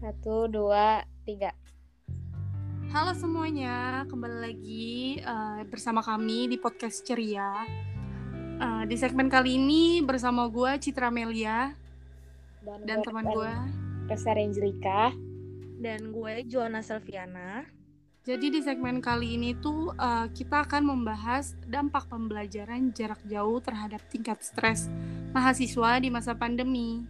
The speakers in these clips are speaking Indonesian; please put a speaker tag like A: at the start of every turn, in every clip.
A: Satu, dua, tiga.
B: Halo semuanya, kembali lagi eh, bersama kami di podcast Ceria. Eh, di segmen kali ini bersama gue Citra Melia dan
A: gua
B: teman
A: Resa-
B: gue.
A: Resa Renjlika.
C: dan gue Joanna Selviana.
B: Jadi di segmen kali ini tuh eh, kita akan membahas dampak pembelajaran jarak jauh terhadap tingkat stres mahasiswa di masa pandemi.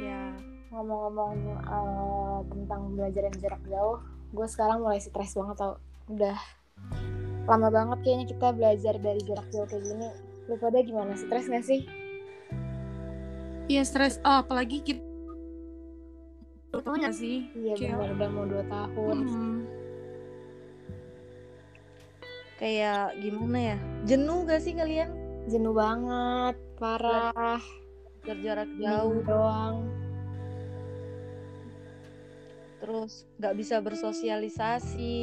C: Ya,
A: Ngomong-ngomong eh, tentang pembelajaran jarak jauh, gue sekarang mulai stres banget tau. Udah lama banget kayaknya kita belajar dari jarak jauh kayak gini. Lu pada gimana? Stres gak sih?
B: Iya stres, oh, apalagi kita
C: Betulnya.
B: sih.
A: Iya
B: Kayak-
A: benar udah mau dua tahun.
B: Mm-mm.
C: kayak gimana ya? Jenuh gak sih kalian?
A: Jenuh banget, parah,
C: Berjarak
A: jauh
C: jauh,
A: doang.
C: terus nggak bisa bersosialisasi.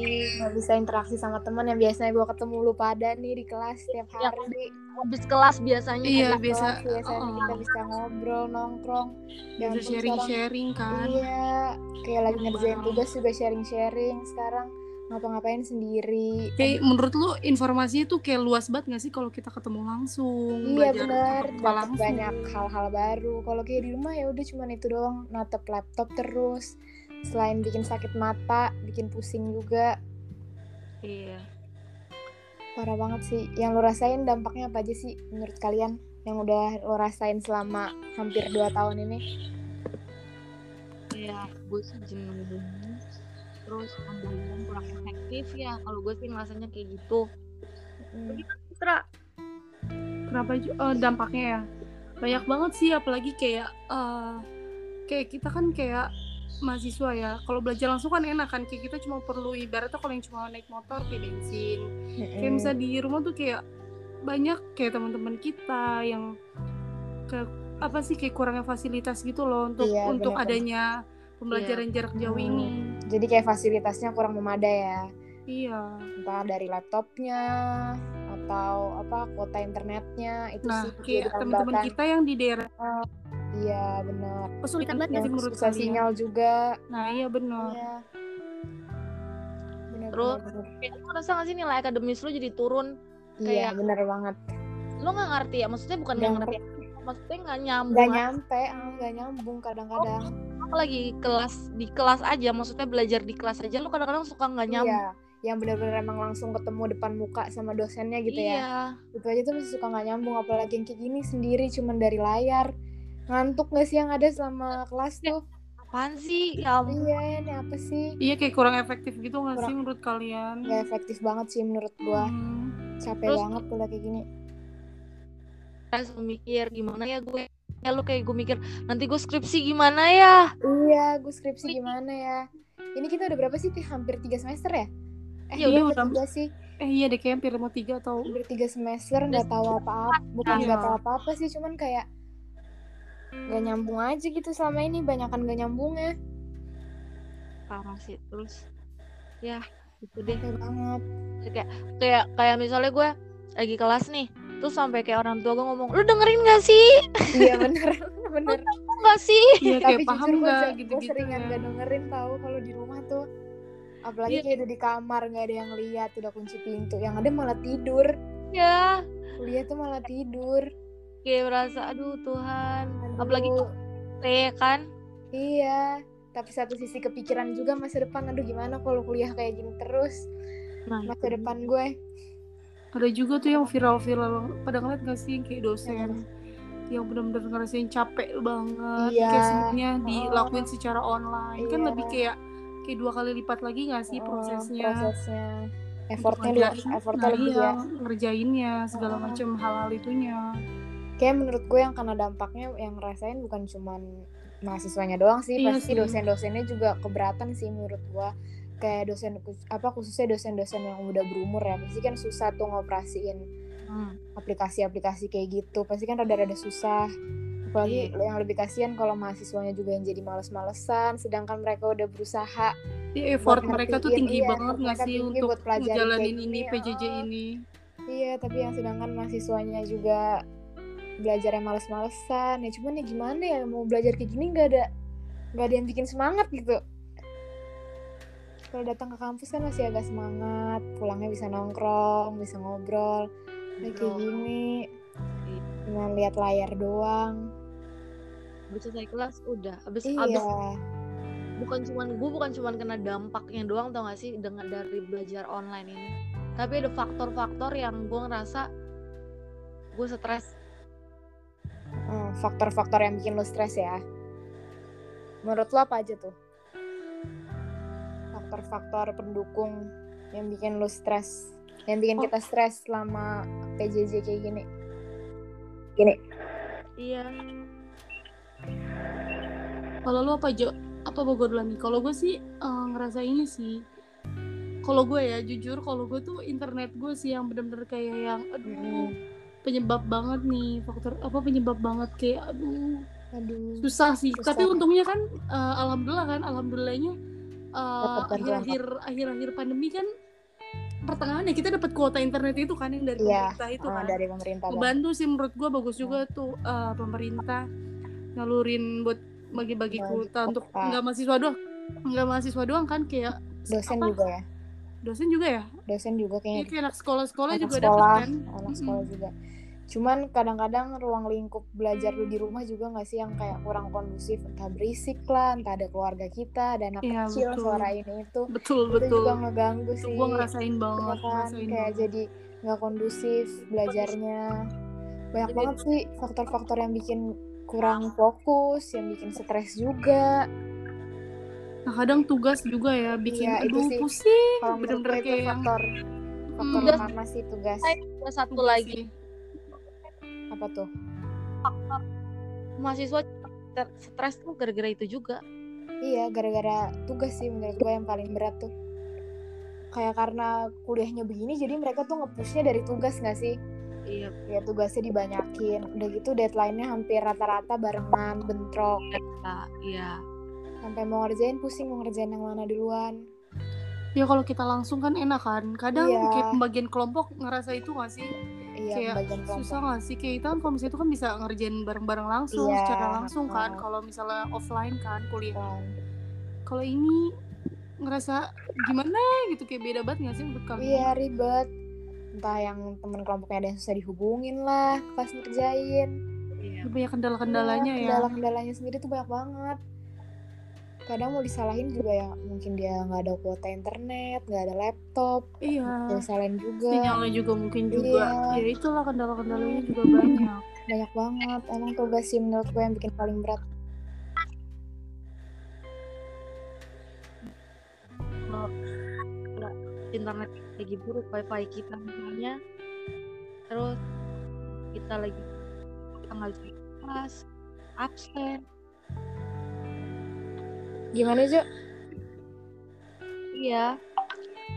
A: Gak bisa interaksi sama teman yang biasanya gue ketemu lu pada nih di kelas setiap
C: Yang
A: hari.
C: Habis kelas biasanya.
B: Iya
A: Kelas
B: biasa,
A: biasanya
B: oh.
A: kita bisa ngobrol, nongkrong. Dan
B: biasa sharing-sharing kan.
A: Iya, kayak lagi ngerjain
B: Wow.
A: tugas juga sharing-sharing. Sekarang ngapa-ngapain sendiri. Iya,
B: Kayak menurut lu informasinya tuh kayak luas banget gak sih kalau kita ketemu langsung?
A: Iya
B: belajar
A: benar,
B: tatap muka
A: dapat banyak hal-hal baru. Kalau kayak di rumah ya udah cuman itu doang, natep laptop terus. Selain bikin sakit mata, bikin pusing juga.
B: Iya.
A: Parah banget sih. Yang lo rasain dampaknya apa aja sih menurut kalian? Yang udah lo rasain selama hampir 2 tahun ini?
C: Iya, gue sih jenuh. Terus pembelajaran kurang efektif ya. Kalau gue sih ngerasanya kayak gitu.
A: Hmm,
C: Citra,
B: Kenapa ju- eh, dampaknya ya? Banyak banget sih apalagi kayak eh, kayak kita kan kayak mahasiswa ya. Kalau belajar langsung kan enak kan kayak kita cuma perlu ibaratnya kalau yang cuma naik motor kayak bensin. Kayak
A: mm-mm.
B: misalnya di rumah tuh kayak banyak kayak teman-teman kita yang ke apa sih kayak kurangnya fasilitas gitu loh untuk
A: Iya,
B: untuk
A: benar-benar.
B: adanya pembelajaran jarak jauh
A: Hmm.
B: ini.
A: Jadi kayak fasilitasnya kurang memadai ya.
B: Iya.
A: entah dari laptopnya atau apa kuota internetnya itu
B: Nah,
A: sih
B: kayak teman-teman kita yang di daerah
A: iya benar
B: kesulitan
A: yang
B: banget sih menurut
A: Iya, susah
B: kalian.
A: sinyal juga
B: Nah, iya benar.
A: iya benar
C: Terus,
A: benar, benar.
C: kayak lu ngerasa gak sih nilai akademis lu jadi turun?
A: iya
C: kayak-
A: benar banget
C: Lu nggak ngerti ya? Maksudnya bukan nggak
A: Nggak
C: ngerti. Maksudnya nggak nyambung.
A: nggak
C: aja.
A: nyampe ah, nggak nyambung kadang-kadang
B: Oh,
C: apalagi kelas di kelas aja maksudnya belajar di kelas aja lu kadang-kadang suka nggak nyambung
A: iya yang benar-benar emang langsung ketemu depan muka sama dosennya gitu
B: Iya.
A: ya
C: Iya.
A: itu aja tuh masih suka nggak nyambung apalagi yang kayak gini sendiri cuman dari layar ngantuk nggak sih yang ada selama kelas tuh
C: apaan sih ya ampun.
A: iya ini apa sih
B: Iya kayak kurang efektif gitu nggak sih
A: Kurang- Iya,
B: menurut kalian?
A: nggak efektif banget sih menurut gua
B: Hmm.
A: capek
C: Terus-
A: banget kuliah kayak gini
C: Terus gua mikir gimana ya gue ya lu kayak gue mikir nanti gue skripsi gimana ya
A: iya gue skripsi gimana ya ini kita udah berapa sih Ti? hampir tiga semester ya eh
B: Iya,
A: iya,
B: udah.
A: udah tiga sih
B: Eh iya deh kayak hampir mau tiga atau
A: hampir tiga semester nggak tahu apa-apa bukan
B: Iya.
A: nggak tahu apa-apa sih cuman kayak nggak nyambung aja gitu selama ini banyakan nggak nyambungnya
C: parah sih terus ya gitu deh
A: capek banget
C: kayak kayak misalnya gue lagi kelas nih terus sampai kayak orang tua gue ngomong lu dengerin gak sih
A: iya bener bener
C: Lu nggak sih
B: iya
A: tapi
B: kayak paham
A: jujur
B: nggak
A: gue,
B: gitu-gitu.
A: seringan
B: ya.
A: nggak dengerin tahu kalau di rumah tuh apalagi
C: Iya.
A: kayak udah di kamar nggak ada yang lihat udah kunci pintu yang ada malah tidur
C: ya
A: kuliah tuh malah tidur
C: kayak merasa aduh Tuhan apalagi
A: Aduh.
C: teh kan
A: Iya, tapi satu sisi kepikiran juga masa depan. Aduh gimana kalau kuliah kayak gini terus
C: nah
A: masa depan gue.
B: Ada juga tuh yang viral-viral pada ngeliat nggak sih kayak dosen yang benar-benar ngerasain capek banget
A: Iya.
B: kayak semuanya dilakuin
A: Oh.
B: secara online kan
A: Iya.
B: lebih kayak kayak dua kali lipat lagi nggak sih
A: Oh,
B: prosesnya
A: prosesnya, effortnya
B: Untuk
A: dua,
B: ngerjain,
A: effortnya
B: nah,
A: lebih
B: iya,
A: ya.
B: ngerjainnya segala
A: Oh.
B: macam hal-hal itunya
A: Kayak menurut gue yang kena dampaknya yang rasain bukan cuman mahasiswanya doang sih,
B: Iya
A: pasti
B: sih.
A: dosen-dosennya juga keberatan sih menurut gue. Kayak dosen apa khususnya dosen-dosen yang udah berumur ya, pasti kan susah tuh ngoperasiin
C: hmm.
A: aplikasi-aplikasi kayak gitu pasti kan rada-rada susah apalagi
B: Iya.
A: yang lebih kasihan kalau mahasiswanya juga yang jadi males-malesan sedangkan mereka udah berusaha
B: Iya, effort
A: ngertiin,
B: mereka tuh tinggi
A: iya,
B: banget
A: effort
B: nggak
A: mereka
B: sih
A: tinggi
B: untuk
A: buat pelajarin kayak
B: ngejalanin
A: gini,
B: ini PJJ
A: oh.
B: ini
A: iya tapi yang sedangkan mahasiswanya juga belajarnya males-malesan ya cuman ya gimana ya mau belajar kayak gini nggak ada nggak ada yang bikin semangat gitu kalau datang ke kampus kan masih agak semangat pulangnya bisa nongkrong bisa ngobrol Nah, kayak
C: Ngobrol.
A: gini
C: Iya.
A: cuma lihat layar doang
C: Habis selesai kelas udah. Habis
A: iya
C: habis bukan cuman gue bukan cuman kena dampaknya doang tau gak sih dengan dari belajar online ini. Tapi ada faktor-faktor yang gue ngerasa gue stres.
A: Hmm, faktor-faktor yang bikin lo stres ya menurut lo apa aja tuh faktor-faktor pendukung yang bikin lo stres yang bikin
B: Oh.
A: kita stres selama PJJ kayak gini
C: Iya.
B: Kalau lu apa Jo? Apa Bogor dulu nih? Kalau gue sih eh, ngerasa ini sih. Kalau gue ya jujur, kalau gue tuh internet gue sih yang bener-bener kayak yang aduh
A: Mm.
B: penyebab banget nih faktor apa penyebab banget kayak aduh
A: aduh
B: susah sih.
A: Susah.
B: Tapi untungnya kan eh, alhamdulillah kan alhamdulillahnya eh,
A: Dapat bantuan.
B: akhir-akhir akhir-akhir pandemi kan pertengahan ya kita dapat kuota internet itu kan yang dari
A: Iya,
B: pemerintah itu
A: Ah,
B: kan.
A: dari pemerintah banget.
B: Membantu sih menurut gue bagus
A: Hmm.
B: juga tuh eh, pemerintah ngalurin buat bagi-bagi
A: Bagi
B: kuota untuk
A: kuota.
B: nggak mahasiswa doang nggak mahasiswa doang kan kayak
A: dosen
B: apa?
A: juga ya
B: dosen juga ya
A: dosen juga
B: Iya,
A: kayaknya
B: kayak anak sekolah-sekolah
A: anak
B: juga dapat
A: sekolah
B: kan
A: anak
B: Mm-mm.
A: sekolah juga cuman kadang-kadang ruang lingkup belajar lu di rumah juga nggak sih yang kayak kurang kondusif entah berisik lah entah ada keluarga kita ada anak
B: Iya,
A: kecil
B: betul.
A: suara ini itu
B: betul
A: itu
B: betul
A: juga ngeganggu
B: itu
A: sih
B: gue ngerasain banget
A: Iya kan
B: ngerasain
A: kayak
B: banget.
A: jadi nggak kondusif belajarnya banyak
C: Jadi-
A: banget sih faktor-faktor yang bikin kurang fokus yang bikin stres juga
B: nah kadang tugas juga ya bikin
A: Iya, itu
B: aduh
A: sih.
B: pusing
A: kalau menurut
B: bener-bener
A: gue itu
B: kayak yang
A: faktor faktor
C: Tugas.
A: mana sih tugas
C: Ada satu
B: tugas
C: lagi
B: sih.
A: apa tuh
C: faktor mahasiswa ter- stres tuh gara-gara itu juga.
A: Iya, gara-gara tugas sih menurut gue yang paling berat tuh. Kayak karena kuliahnya begini, jadi mereka tuh nge-pushnya dari tugas nggak sih?
C: Iya.
A: Ya tugasnya dibanyakin. Udah gitu deadline-nya hampir rata-rata barengan, bentrok.
C: Iya.
A: Sampai mau ngerjain pusing, mau ngerjain yang mana duluan.
B: ya kalau kita langsung kan enak kan kadang
A: Iya.
B: kayak pembagian kelompok ngerasa itu nggak sih
A: Iya,
B: Kayak
A: bagian
B: susah nggak sih kayak kita kan kalau misalnya itu kan bisa ngerjain bareng-bareng langsung
A: Iya,
B: secara langsung kan
A: betul.
B: kalau misalnya offline kan kuliah
A: kelompokan.
B: kalau ini ngerasa gimana gitu kayak beda banget nggak sih menurut kamu
A: Iya, ribet. Entah yang temen kelompoknya ada yang susah dihubungin lah pas ngerjain.
C: Iya.
B: Itu banyak kendala-kendalanya
A: Iya,
B: ya
A: Kendala-kendalanya sendiri tuh banyak banget. Kadang mau disalahin juga ya, mungkin dia nggak ada kuota internet, nggak ada laptop.
B: iya
A: Ada salin juga
B: sinyalnya juga mungkin juga
A: Iya.
B: ya itulah kendala-kendalanya juga banyak
A: banyak banget emang tugas sih menurut gue yang bikin paling berat
C: internet lagi buruk wifi kita misalnya terus kita lagi kita nggak bisa ikut kelas absen
A: gimana Jo?
C: iya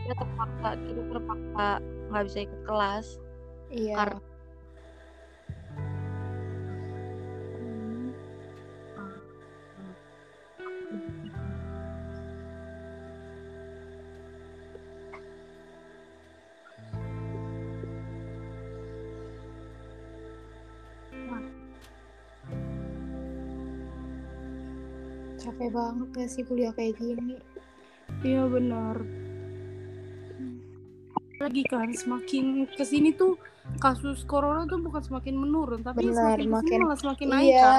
C: kita terpaksa kita terpaksa nggak bisa ikut kelas
A: iya
C: Karena-
A: Hmm, capek banget gak sih kuliah kayak gini
B: iya benar lagi kan semakin kesini tuh kasus corona tuh bukan semakin menurun tapi
A: Benar,
B: semakin kesini
A: makin-
B: malah semakin naik kan
A: iya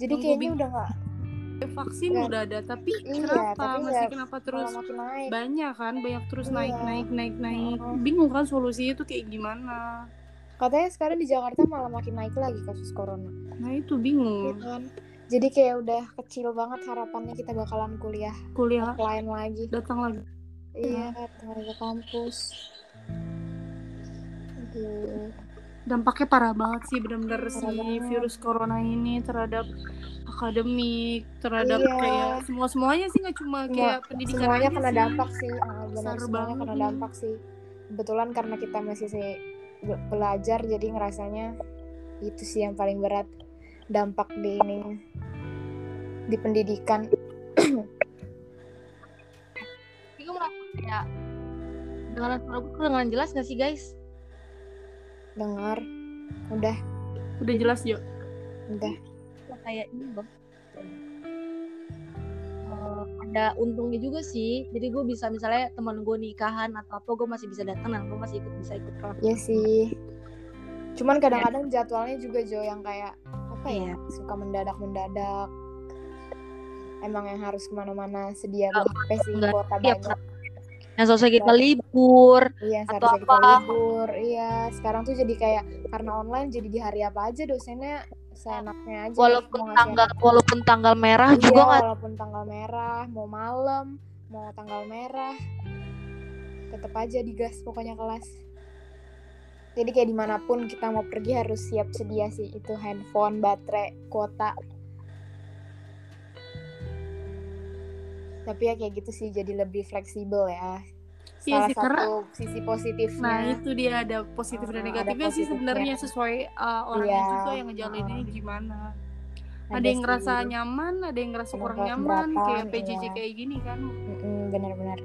A: jadi
B: Nunggu
A: kayaknya
B: bing-
A: udah gak
B: vaksin
A: Nggak.
B: udah ada tapi
A: Iya,
B: kenapa
A: tapi
B: masih
A: nggak-
B: kenapa terus
A: terus makin naik
B: banyak kan banyak terus
A: Iya.
B: naik naik naik naik
A: Oh.
B: bingung kan solusinya tuh kayak gimana
A: katanya sekarang di Jakarta malah makin naik lagi kasus corona
B: nah itu
A: Iya
B: bingung
A: kan jadi kayak udah kecil banget harapannya kita bakalan kuliah
B: kuliah
A: offline lagi
B: datang lagi
A: Iya, teman ke kampus. Aduh,
B: dampaknya parah banget sih benar-benar
A: Iya,
B: si
A: Parah banget.
B: virus corona ini terhadap akademik terhadap
A: Iya.
B: kayak semua semuanya sih nggak cuma
A: Semua-
B: kayak pendidikan
A: semuanya
B: aja
A: kena
B: sih.
A: dampak sih. Ah, benar
B: Besar
A: semuanya
B: banget
A: kena
B: ini.
A: dampak sih. Kebetulan karena kita masih se- be- belajar jadi ngerasanya itu sih yang paling berat dampak di ini di pendidikan.
C: tapi gue merasa kayak dengan suara gue dengan jelas nggak sih guys
A: Dengar, udah,
B: udah jelas Jo
A: udah.
C: kayak ini loh Eh, ada untungnya juga sih jadi gue bisa misalnya teman gue nikahan atau apa gue masih bisa datang dan gue masih ikut bisa ikut kelas
A: Iya sih. Cuman kadang-kadang
C: Ya.
A: jadwalnya juga Jo yang kayak apa
C: Iya.
A: ya? Suka mendadak-mendadak. Emang yang harus kemana-mana sedia
C: Ah,
A: HP sih
C: enggak.
A: kuota
C: Iya,
A: banyak.
C: yang selesai kita libur
A: Iya,
C: Atau
A: seharusnya kita
C: apa?
A: libur. Iya, sekarang tuh jadi kayak karena online jadi di hari apa aja dosennya seenaknya aja. Mau
C: walaupun
A: ngasih
C: tanggal walaupun tanggal
B: Ah,
C: merah
A: Iya,
C: juga nggak
A: walaupun tanggal merah, mau malam, mau tanggal merah, tetap aja digas pokoknya kelas. Jadi kayak dimanapun kita mau pergi harus siap sedia sih itu handphone, baterai, kuota. Tapi ya kayak gitu sih jadi lebih fleksibel ya.
B: Iya
A: Salah
B: sih, karena-
A: satu sisi positifnya.
B: Nah itu dia ada positif dan
A: Ah, ada
B: negatifnya sih
A: positifnya.
B: sebenarnya sesuai uh, orangnya
A: Iya,
B: juga yang ngejalaninnya gimana. Ada, yang
A: sih.
B: ngerasa nyaman, ada yang ngerasa
A: Ada
B: kurang
A: yang
B: nyaman, kayak
A: keberatan,
B: PJJ
A: iya.
B: kayak gini kan.
A: Mm-mm, benar-benar.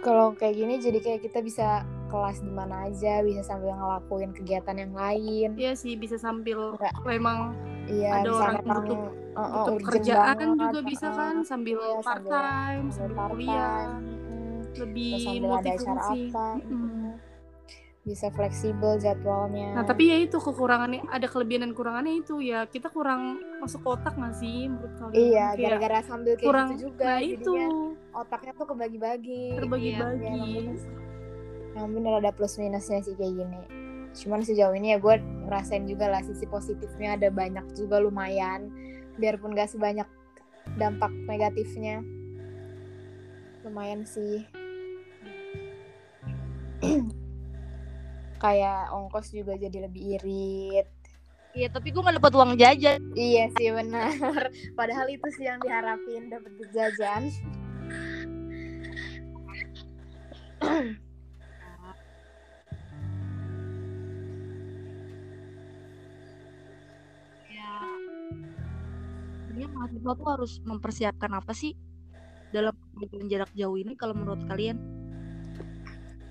A: Kalau kayak gini jadi kayak kita bisa kelas di mana aja, bisa sambil ngelakuin kegiatan yang lain.
B: Iya sih bisa sambil
A: Enggak.
B: memang
A: Iya,
B: Ada
A: bisa
B: orang
A: ada orang
B: butuh-
A: uh, uh,
B: untuk
A: urgent
B: kerjaan
A: banget,
B: juga
A: uh,
B: bisa
A: uh,
B: kan sambil
A: iya,
B: part
A: sambil-
B: time,
A: sambil
B: sambil
A: part-time,
B: kuliah,
A: mm,
B: lebih
A: terus sambil ada acara
B: multifungsi.
A: apa.
B: Mm-mm.
A: mm, Bisa fleksibel jadwalnya.
B: Nah tapi ya itu kekurangannya ada kelebihan dan kurangannya itu ya kita kurang masuk otak nggak sih menurut kalian?
A: Iya,
B: Kayak
A: gara-gara sambil kayak
B: kurang
A: gitu juga.
B: nah itu
A: jadinya otaknya tuh kebagi-bagi.
B: terbagi-bagi.
A: Iya, yang bener- Yang bener ada plus minusnya sih kayak gini. Cuman sejauh ini ya gue ngerasain juga lah sisi positifnya ada banyak juga lumayan. Biarpun gak sebanyak dampak negatifnya. Lumayan sih. kayak ongkos juga jadi lebih irit.
C: iya tapi gue nggak dapat uang jajan
A: Iya sih benar. Padahal itu sih yang diharapin dapat duit jajan.
C: ya sebenarnya mahasiswa tuh harus mempersiapkan apa sih dalam pendidikan jarak jauh ini kalau menurut kalian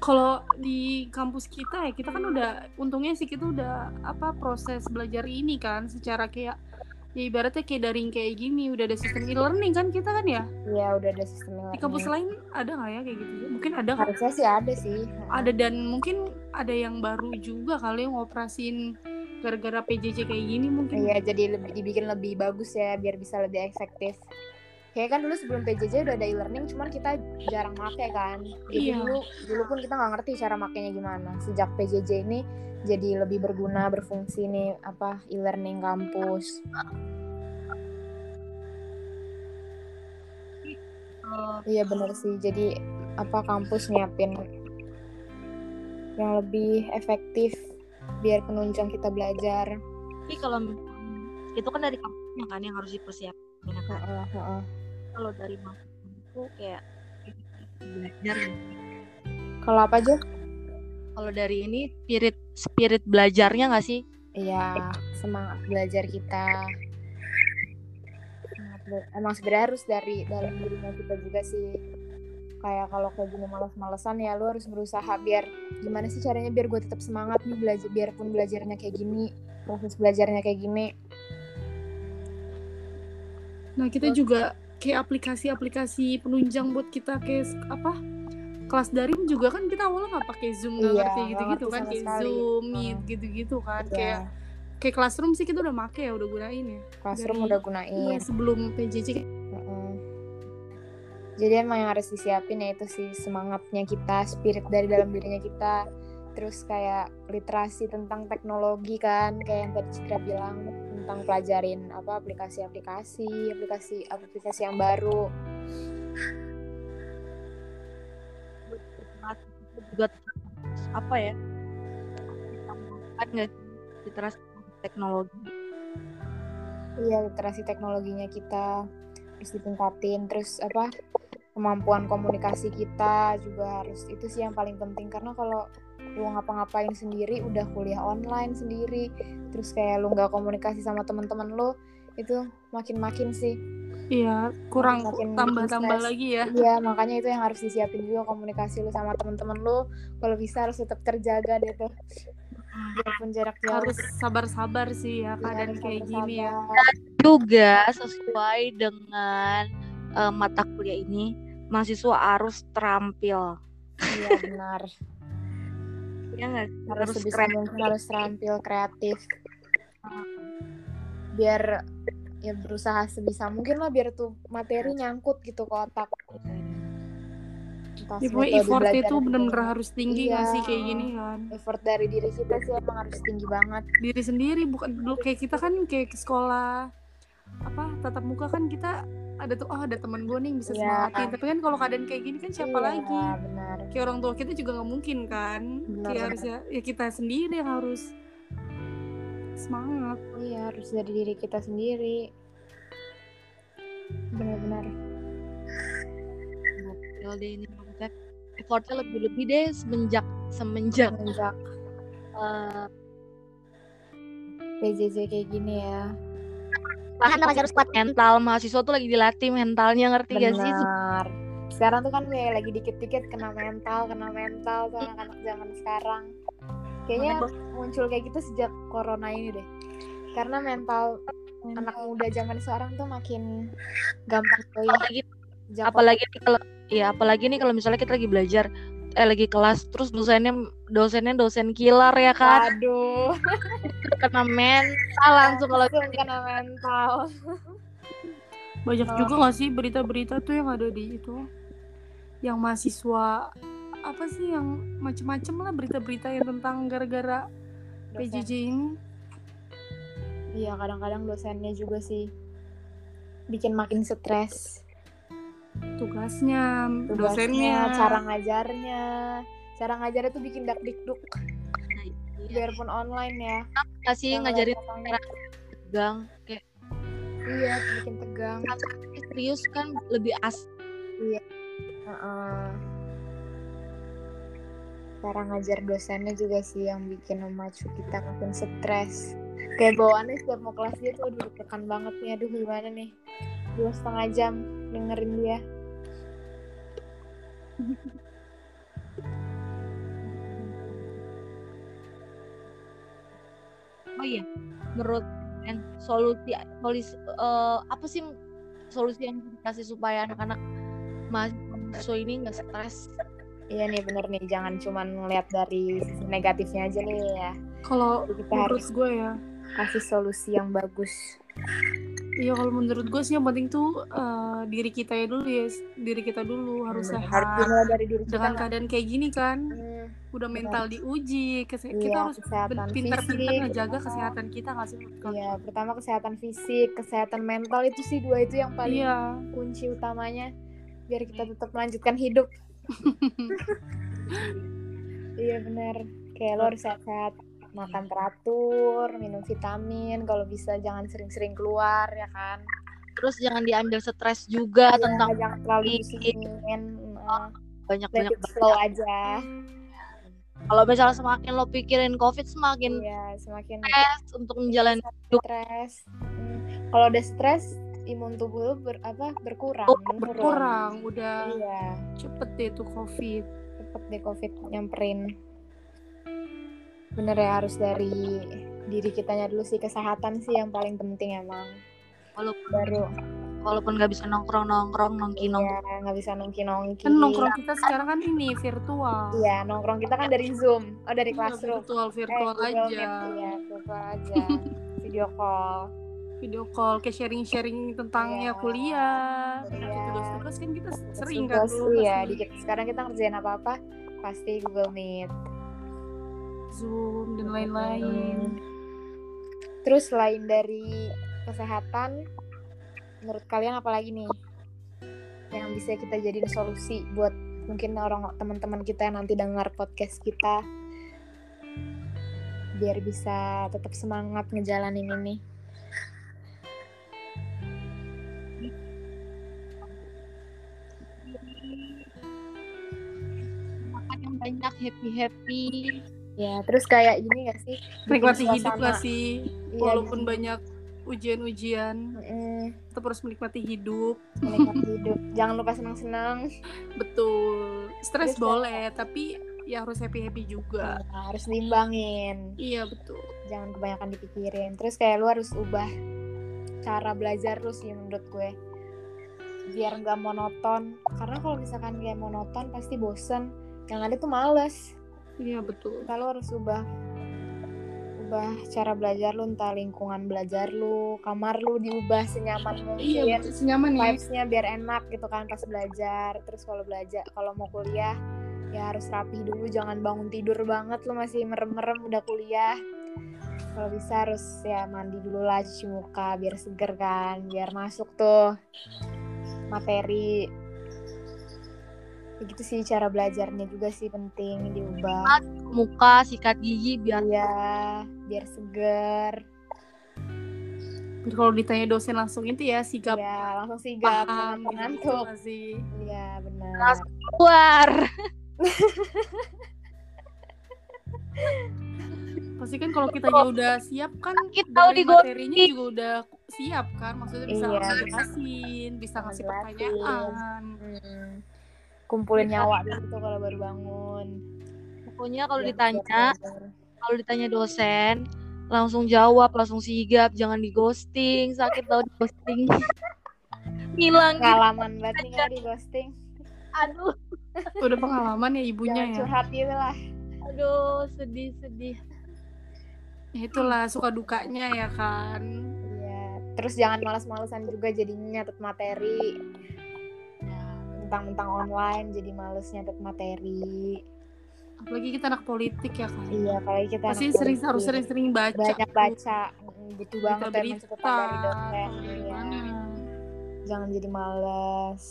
B: kalau di kampus kita ya kita kan udah untungnya sih kita udah apa proses belajar ini kan secara kayak ya ibaratnya kayak daring kayak gini udah ada sistem e-learning kan kita kan ya
A: Iya udah ada sistem
B: di kampus lain ada nggak ya kayak gitu mungkin ada kan
A: Harusnya sih ada sih.
B: ada dan mungkin ada yang baru juga kali yang ngoperasin gara-gara PJJ kayak gini mungkin
A: Iya jadi lebih dibikin lebih bagus ya biar bisa lebih efektif. Kayak kan dulu sebelum PJJ udah ada e-learning, cuman kita jarang make kan. Jadi
B: Iya.
A: dulu dulu pun kita nggak ngerti cara makainya gimana. Sejak PJJ ini jadi lebih berguna, berfungsi nih apa e-learning kampus. Iya bener sih. Jadi apa kampus nyiapin yang lebih efektif biar penunjang kita belajar.
C: tapi kalau itu kan dari kampusnya kan yang harus dipersiapkan ya kan?
A: Heeh, heeh.
C: kalau dari mahasiswa itu kayak belajar
A: Kalau apa aja?
C: kalau dari ini spirit spirit belajarnya nggak sih
A: Iya semangat belajar kita. Semangat be- Emang sebenarnya harus dari dalam dirinya kita juga sih. Kayak kalau kayak gini malas-malesan ya lu harus berusaha biar gimana sih caranya biar gue tetap semangat nih belajar biarpun belajarnya kayak gini proses belajarnya kayak gini
B: Nah, kita juga kayak aplikasi-aplikasi penunjang buat kita kayak s- apa? Kelas daring juga kan kita awalnya nggak pakai Zoom nggak
A: Iya,
B: ngerti
A: nggak
B: gitu-gitu
A: ngerti
B: kan
A: sama
B: kayak
A: sekali.
B: Zoom, Meet
A: Hmm.
B: gitu-gitu kan
A: Iya,
B: kayak kayak classroom sih kita udah make ya udah gunain ya.
A: classroom
B: dari-
A: udah
B: Iya,
A: gunain
B: sebelum PJJ
A: Mm-mm. jadi emang yang harus disiapin ya itu sih semangatnya kita spirit dari dalam dirinya kita terus kayak literasi tentang teknologi kan kayak yang tadi Citra bilang tentang pelajarin apa aplikasi-aplikasi aplikasi aplikasi yang baru
C: mahasiswa juga harus apa ya kan nggak sih? literasi teknologi
A: iya literasi teknologinya kita terus ditingkatin terus apa kemampuan komunikasi kita juga harus itu sih yang paling penting karena kalau lu ngapa-ngapain sendiri udah kuliah online sendiri terus kayak lu nggak komunikasi sama teman-teman lu itu makin-makin sih
B: iya kurang
A: Makin
B: tambah-tambah
A: stres.
B: lagi ya.
A: Iya makanya itu yang harus disiapin juga komunikasi lu sama teman-teman lu kalau bisa harus tetap terjaga deh tuh walaupun jarak jauh
B: Ah, harus sabar-sabar sih
A: Iya,
B: ya keadaan
A: harus
B: kayak gini ya
A: sabar-sabar.
C: juga sesuai dengan eh, mata kuliah ini mahasiswa harus terampil
A: iya benar
C: ya nggak sih?
A: harus
C: Harus
A: sebisa
C: kreatif.
A: mungkin harus terampil kreatif biar ya berusaha sebisa mungkin lah biar tuh materi nyangkut gitu ke otak Entah
B: ya
A: metode
B: pokoknya effort
A: belajar
B: itu
A: atau
B: bener-bener
A: gimana.
B: harus tinggi
A: Iya.
B: nggak sih kayak gini kan
A: effort dari diri kita sih emang harus tinggi banget
B: diri sendiri bukan dulu kayak kita kan kayak ke sekolah apa tatap muka kan kita ada tuh oh ada teman gue nih yang bisa
A: Iya.
B: semangatin tapi kan kalau keadaan kayak gini kan siapa
A: Iya,
B: lagi
A: benar
B: kayak orang tua kita juga nggak mungkin kan
A: Benar,
B: kayak
A: benar.
B: harus ya, ya kita sendiri yang harus semangat
A: iya harus dari diri kita sendiri benar-benar
C: Gokil deh ini maksudnya effortnya lebih-lebih deh semenjak semenjak
A: menjak
C: eh,
A: PJJ kayak gini ya
C: pasti harus kuat mental mahasiswa tuh lagi dilatih mentalnya ngerti gak Iya sih
A: Benar. Sekarang tuh kan kayak lagi dikit-dikit kena mental, kena mental
C: Iya.
A: tuh anak-anak zaman sekarang. Kayaknya muncul kayak gitu sejak corona ini deh. Karena mental
C: Hmm.
A: anak muda zaman sekarang tuh makin gampang tuh
C: apalagi apalagi nih kalau ya apalagi nih kalau misalnya kita lagi belajar eh lagi kelas terus dosennya dosennya dosen killer ya kan
A: aduh
C: kena mental langsung kalau
A: langsung kena mental
B: banyak
A: Oh.
B: juga nggak sih berita-berita tuh yang ada di itu yang mahasiswa apa sih yang macem-macem lah berita-berita yang tentang gara-gara PJJ ini
A: iya kadang-kadang dosennya juga sih bikin makin stres
B: tugasnya,
A: Tugasnya,
B: dosennya
A: cara ngajarnya cara ngajarnya tuh bikin dak dikduk biarpun online ya
B: Iya,
C: kasih
A: Yang
C: Iya ngajarin
A: ngeliat orang-
C: cara tegang kayak
A: iya bikin tegang
C: "Eh, serius kan lebih as
A: Heeh. cara ngajar dosennya juga sih yang bikin memacu kita makin stres kayak bawaannya setiap mau kelas dia tuh aduh tekan banget nih aduh gimana nih dua setengah jam dengerin dia
C: oh iya menurut dan solusi solis- eh, apa sih solusi yang dikasih supaya anak-anak mahasiswa ini nggak stres
A: iya nih bener nih jangan cuman ngeliat dari sisi negatifnya aja nih ya
B: kalau
A: Jadi kita
B: menurut
A: harus
B: gue ya
A: kasih solusi yang bagus
B: iya kalau menurut gue sih yang penting tuh eh, diri kita ya dulu ya diri kita dulu harus
A: Bener,
B: sehat
A: harus dimulai dari diri kita
B: dengan
A: nggak?
B: keadaan kayak gini kan
A: Hmm,
B: udah mental diuji kese-
A: iya,
B: kita harus
A: kesehatan
B: ben- pintar-pintar
A: fisik,
B: ngejaga
A: pertama.
B: kesehatan kita nggak sih menurut kamu?
A: Iya, pertama kesehatan fisik, kesehatan mental itu sih dua itu yang paling
B: iya
A: kunci utamanya biar kita tetap melanjutkan hidup. iya benar. Kayak lo harus sehat, makan teratur, minum vitamin, kalau bisa jangan sering-sering keluar ya kan.
C: terus jangan diambil stres juga
A: Iya,
C: tentang
A: jangan terlalu
C: Iya.
A: disingin. Heeh, let
C: banyak-banyak
A: it flow aja.
C: kalau misalnya semakin lo pikirin covid semakin
A: Iya, semakin
C: stres untuk menjalani hidup.
A: stres. Hmm, Kalau udah stres, imun tubuh lo ber, apa berkurang, menurun.
B: berkurang udah
A: Iya,
B: cepet deh tuh covid
A: cepet deh covid nyamperin bener ya harus dari diri kitanya dulu sih kesehatan sih yang paling penting emang
C: walaupun
A: baru
C: walaupun nggak bisa nongkrong nongkrong nongki nongki
A: ya nggak bisa nongki nongki
B: kan nongkrong kita sekarang kan ini virtual
A: iya nongkrong kita kan dari zoom oh dari
B: Iya,
A: classroom
B: virtual virtual
A: Eh, Google
B: aja
A: Meet, iya virtual aja video call
B: video call kayak sharing sharing tentang
A: Iya.
B: ya kuliah
A: Iya.
B: atau tugas-tugas kan kita sering kan
A: Terus
B: dulu
A: tugas, iya
B: pasti
A: dikit sekarang kita ngerjain apa apa pasti Google Meet
B: zoom dan lain-lain
A: Iya. terus selain dari kesehatan menurut kalian apa lagi nih yang bisa kita jadiin solusi buat mungkin orang teman-teman kita yang nanti dengar podcast kita biar bisa tetap semangat ngejalanin ini Iya.
C: makan yang banyak happy happy
A: ya terus kayak ini gak sih
B: nikmati
A: Bikin
B: hidup
A: suasana.
B: gak sih
A: Iya,
B: walaupun
A: gitu.
B: banyak ujian-ujian
A: Mm,
B: tetap harus menikmati hidup
A: menikmati hidup jangan lupa senang-senang
B: betul stres
A: Terus
B: boleh tapi ya harus happy happy juga
A: Nah, harus diimbangin
B: iya betul
A: jangan kebanyakan dipikirin terus kayak lu harus ubah cara belajar lu sih menurut gue biar nggak monoton karena kalau misalkan kayak monoton pasti bosen yang ada tuh males
B: iya betul
A: kalau harus ubah ubah cara belajar lu entah lingkungan belajar lu kamar lu diubah senyaman mungkin
B: iya betul senyaman nih
A: vibes-nya biar enak gitu kan pas belajar terus kalau belajar kalau mau kuliah ya harus rapih dulu jangan bangun tidur banget lu masih merem-merem udah kuliah kalau bisa harus ya mandi dulu lah cuci muka biar seger kan biar masuk tuh materi begitu sih cara belajarnya juga sih penting diubah
C: muka sikat gigi biar
A: ya biar seger
B: kalau ditanya dosen langsung itu ya sikap
A: ya langsung sigap jangan
B: paham gitu
A: ngantuk
B: nggak sih
A: ya benar
C: Keras keluar
B: pasti kan kalau kita udah siap kan
C: Sakit tahu
B: dari
C: digoreng.
B: materinya juga udah siap kan maksudnya bisa
A: Iya,
B: ngejelasin,
A: bisa.
B: bisa ngasih
A: Ngejelasin.
B: pertanyaan
A: Hmm.
B: Iya.
A: kumpulin nyawa gitu kalau baru bangun Iya,
C: pokoknya kalau
A: Biar
C: ditanya
A: bisa belajar.
C: kalau ditanya dosen langsung jawab langsung sigap jangan di ghosting sakit tau di ghosting hilang gitu.
A: pengalaman banget
B: Iya.
A: nih kalau di ghosting
C: aduh
B: udah pengalaman ya ibunya
A: jangan
B: ya
A: curhat gitu lah
C: aduh sedih sedih
B: Ya itulah suka dukanya ya kan
A: iya terus jangan malas-malesan juga jadinya nyatet materi tentang-tentang online jadi males nyatet materi
B: apalagi kita anak politik ya kan
A: iya kalau kita
B: pasti
A: anak
B: sering
A: politik,
B: harus sering-sering baca
A: banyak baca Mm, butuh banget emang
B: berita
A: catatan dari dosen
B: kalau dari
A: iya.
B: mana.
A: jangan jadi malas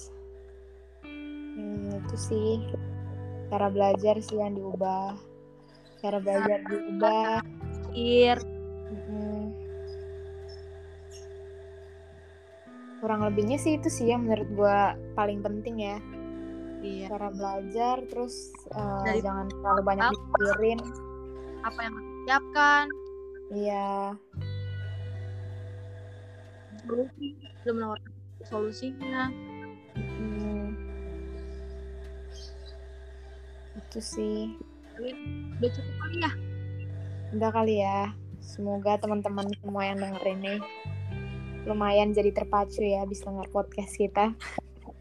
A: hmm, itu sih cara belajar sih yang diubah cara belajar diubah Hmm.
C: Ir
A: Mm-mm. kurang lebihnya sih itu sih yang menurut gua paling penting ya
C: iya
A: cara belajar terus eh,
C: Dari-
A: jangan terlalu banyak dipikirin
C: apa yang harus disiapkan
A: iya
C: solusi sudah menawarkan solusinya
A: mm. itu sih
C: udah cukup kali ya
A: Udah kali ya. Semoga teman-teman semua yang denger ini lumayan jadi terpacu ya habis denger podcast kita.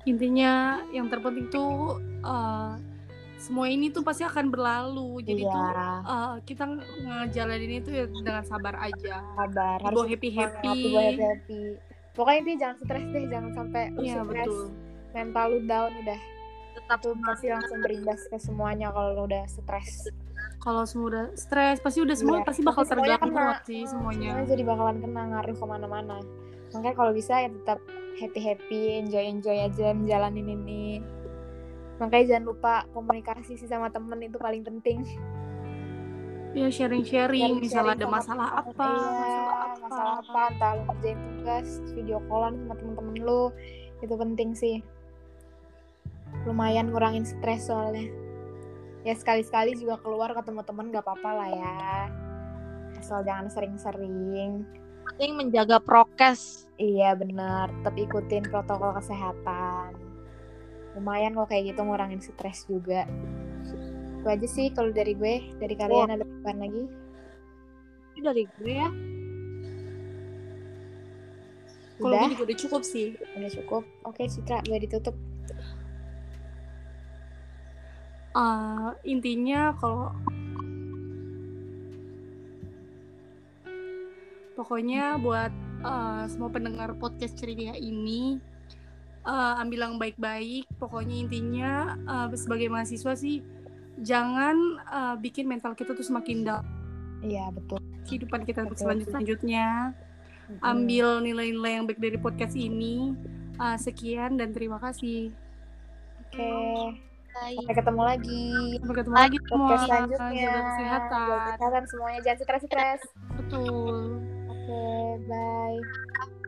B: intinya yang terpenting tuh eh, semua ini tuh pasti akan berlalu jadi
A: Iya,
B: tuh eh, kita ngejalanin itu ya dengan sabar aja
A: kabar harus
B: Dibawa happy-happy.
A: happy, happy. Pokoknya intinya jangan stres deh, jangan sampai lu
B: Iya
A: stres,
B: betul
A: mental lu down udah.
C: tetap
A: Tuh pasti langsung berimbas ke semuanya kalau lu udah stres.
B: kalau semua udah stres pasti udah semua
A: Iya,
B: pasti
A: pasti
B: bakal
A: semuanya
B: terganggu
A: kena.
B: sih
A: Hmm,
B: semuanya
A: jadi bakalan kena ngaruh kemana-mana. Makanya kalau bisa ya tetap happy-happy, enjoy-enjoy aja menjalanin ini. Makanya jangan lupa komunikasi sih sama temen itu paling penting.
B: ya sharing sharing misalnya ada
A: sharing sama
B: masalah
A: teman,
B: apa
A: iya,
B: masalah apa
A: masalah apa entah lu kerjain tugas video callan sama temen-temen lu itu penting sih lumayan ngurangin stres soalnya ya sekali-sekali juga keluar ketemu temen gak apa-apa lah ya asal jangan sering-sering
C: penting menjaga prokes
A: iya bener tetap ikutin protokol kesehatan lumayan kok kayak gitu ngurangin stres juga itu aja sih kalau dari gue dari kalian ada pesan lagi
C: itu dari gue ya
B: kalau
A: udah
B: gue juga udah cukup sih
A: udah cukup oke Citra gue ditutup
B: Eh, intinya kalau pokoknya buat eh, semua pendengar podcast ceria ini eh, ambil yang baik-baik pokoknya intinya eh, sebagai mahasiswa sih jangan eh, bikin mental kita tuh semakin down
A: iya betul
B: kehidupan kita untuk
A: Betul.
B: selanjut- selanjutnya
A: Hmm.
B: ambil nilai-nilai yang baik dari podcast ini Eh, sekian dan terima kasih
A: oke
C: Baik.
A: sampai ketemu lagi
B: sampai ketemu lagi semua
A: podcast selanjutnya
B: jaga
A: Jaga
B: kesehatan
A: kesehatan semuanya jangan stres stres
B: betul
A: oke bye
C: Bye.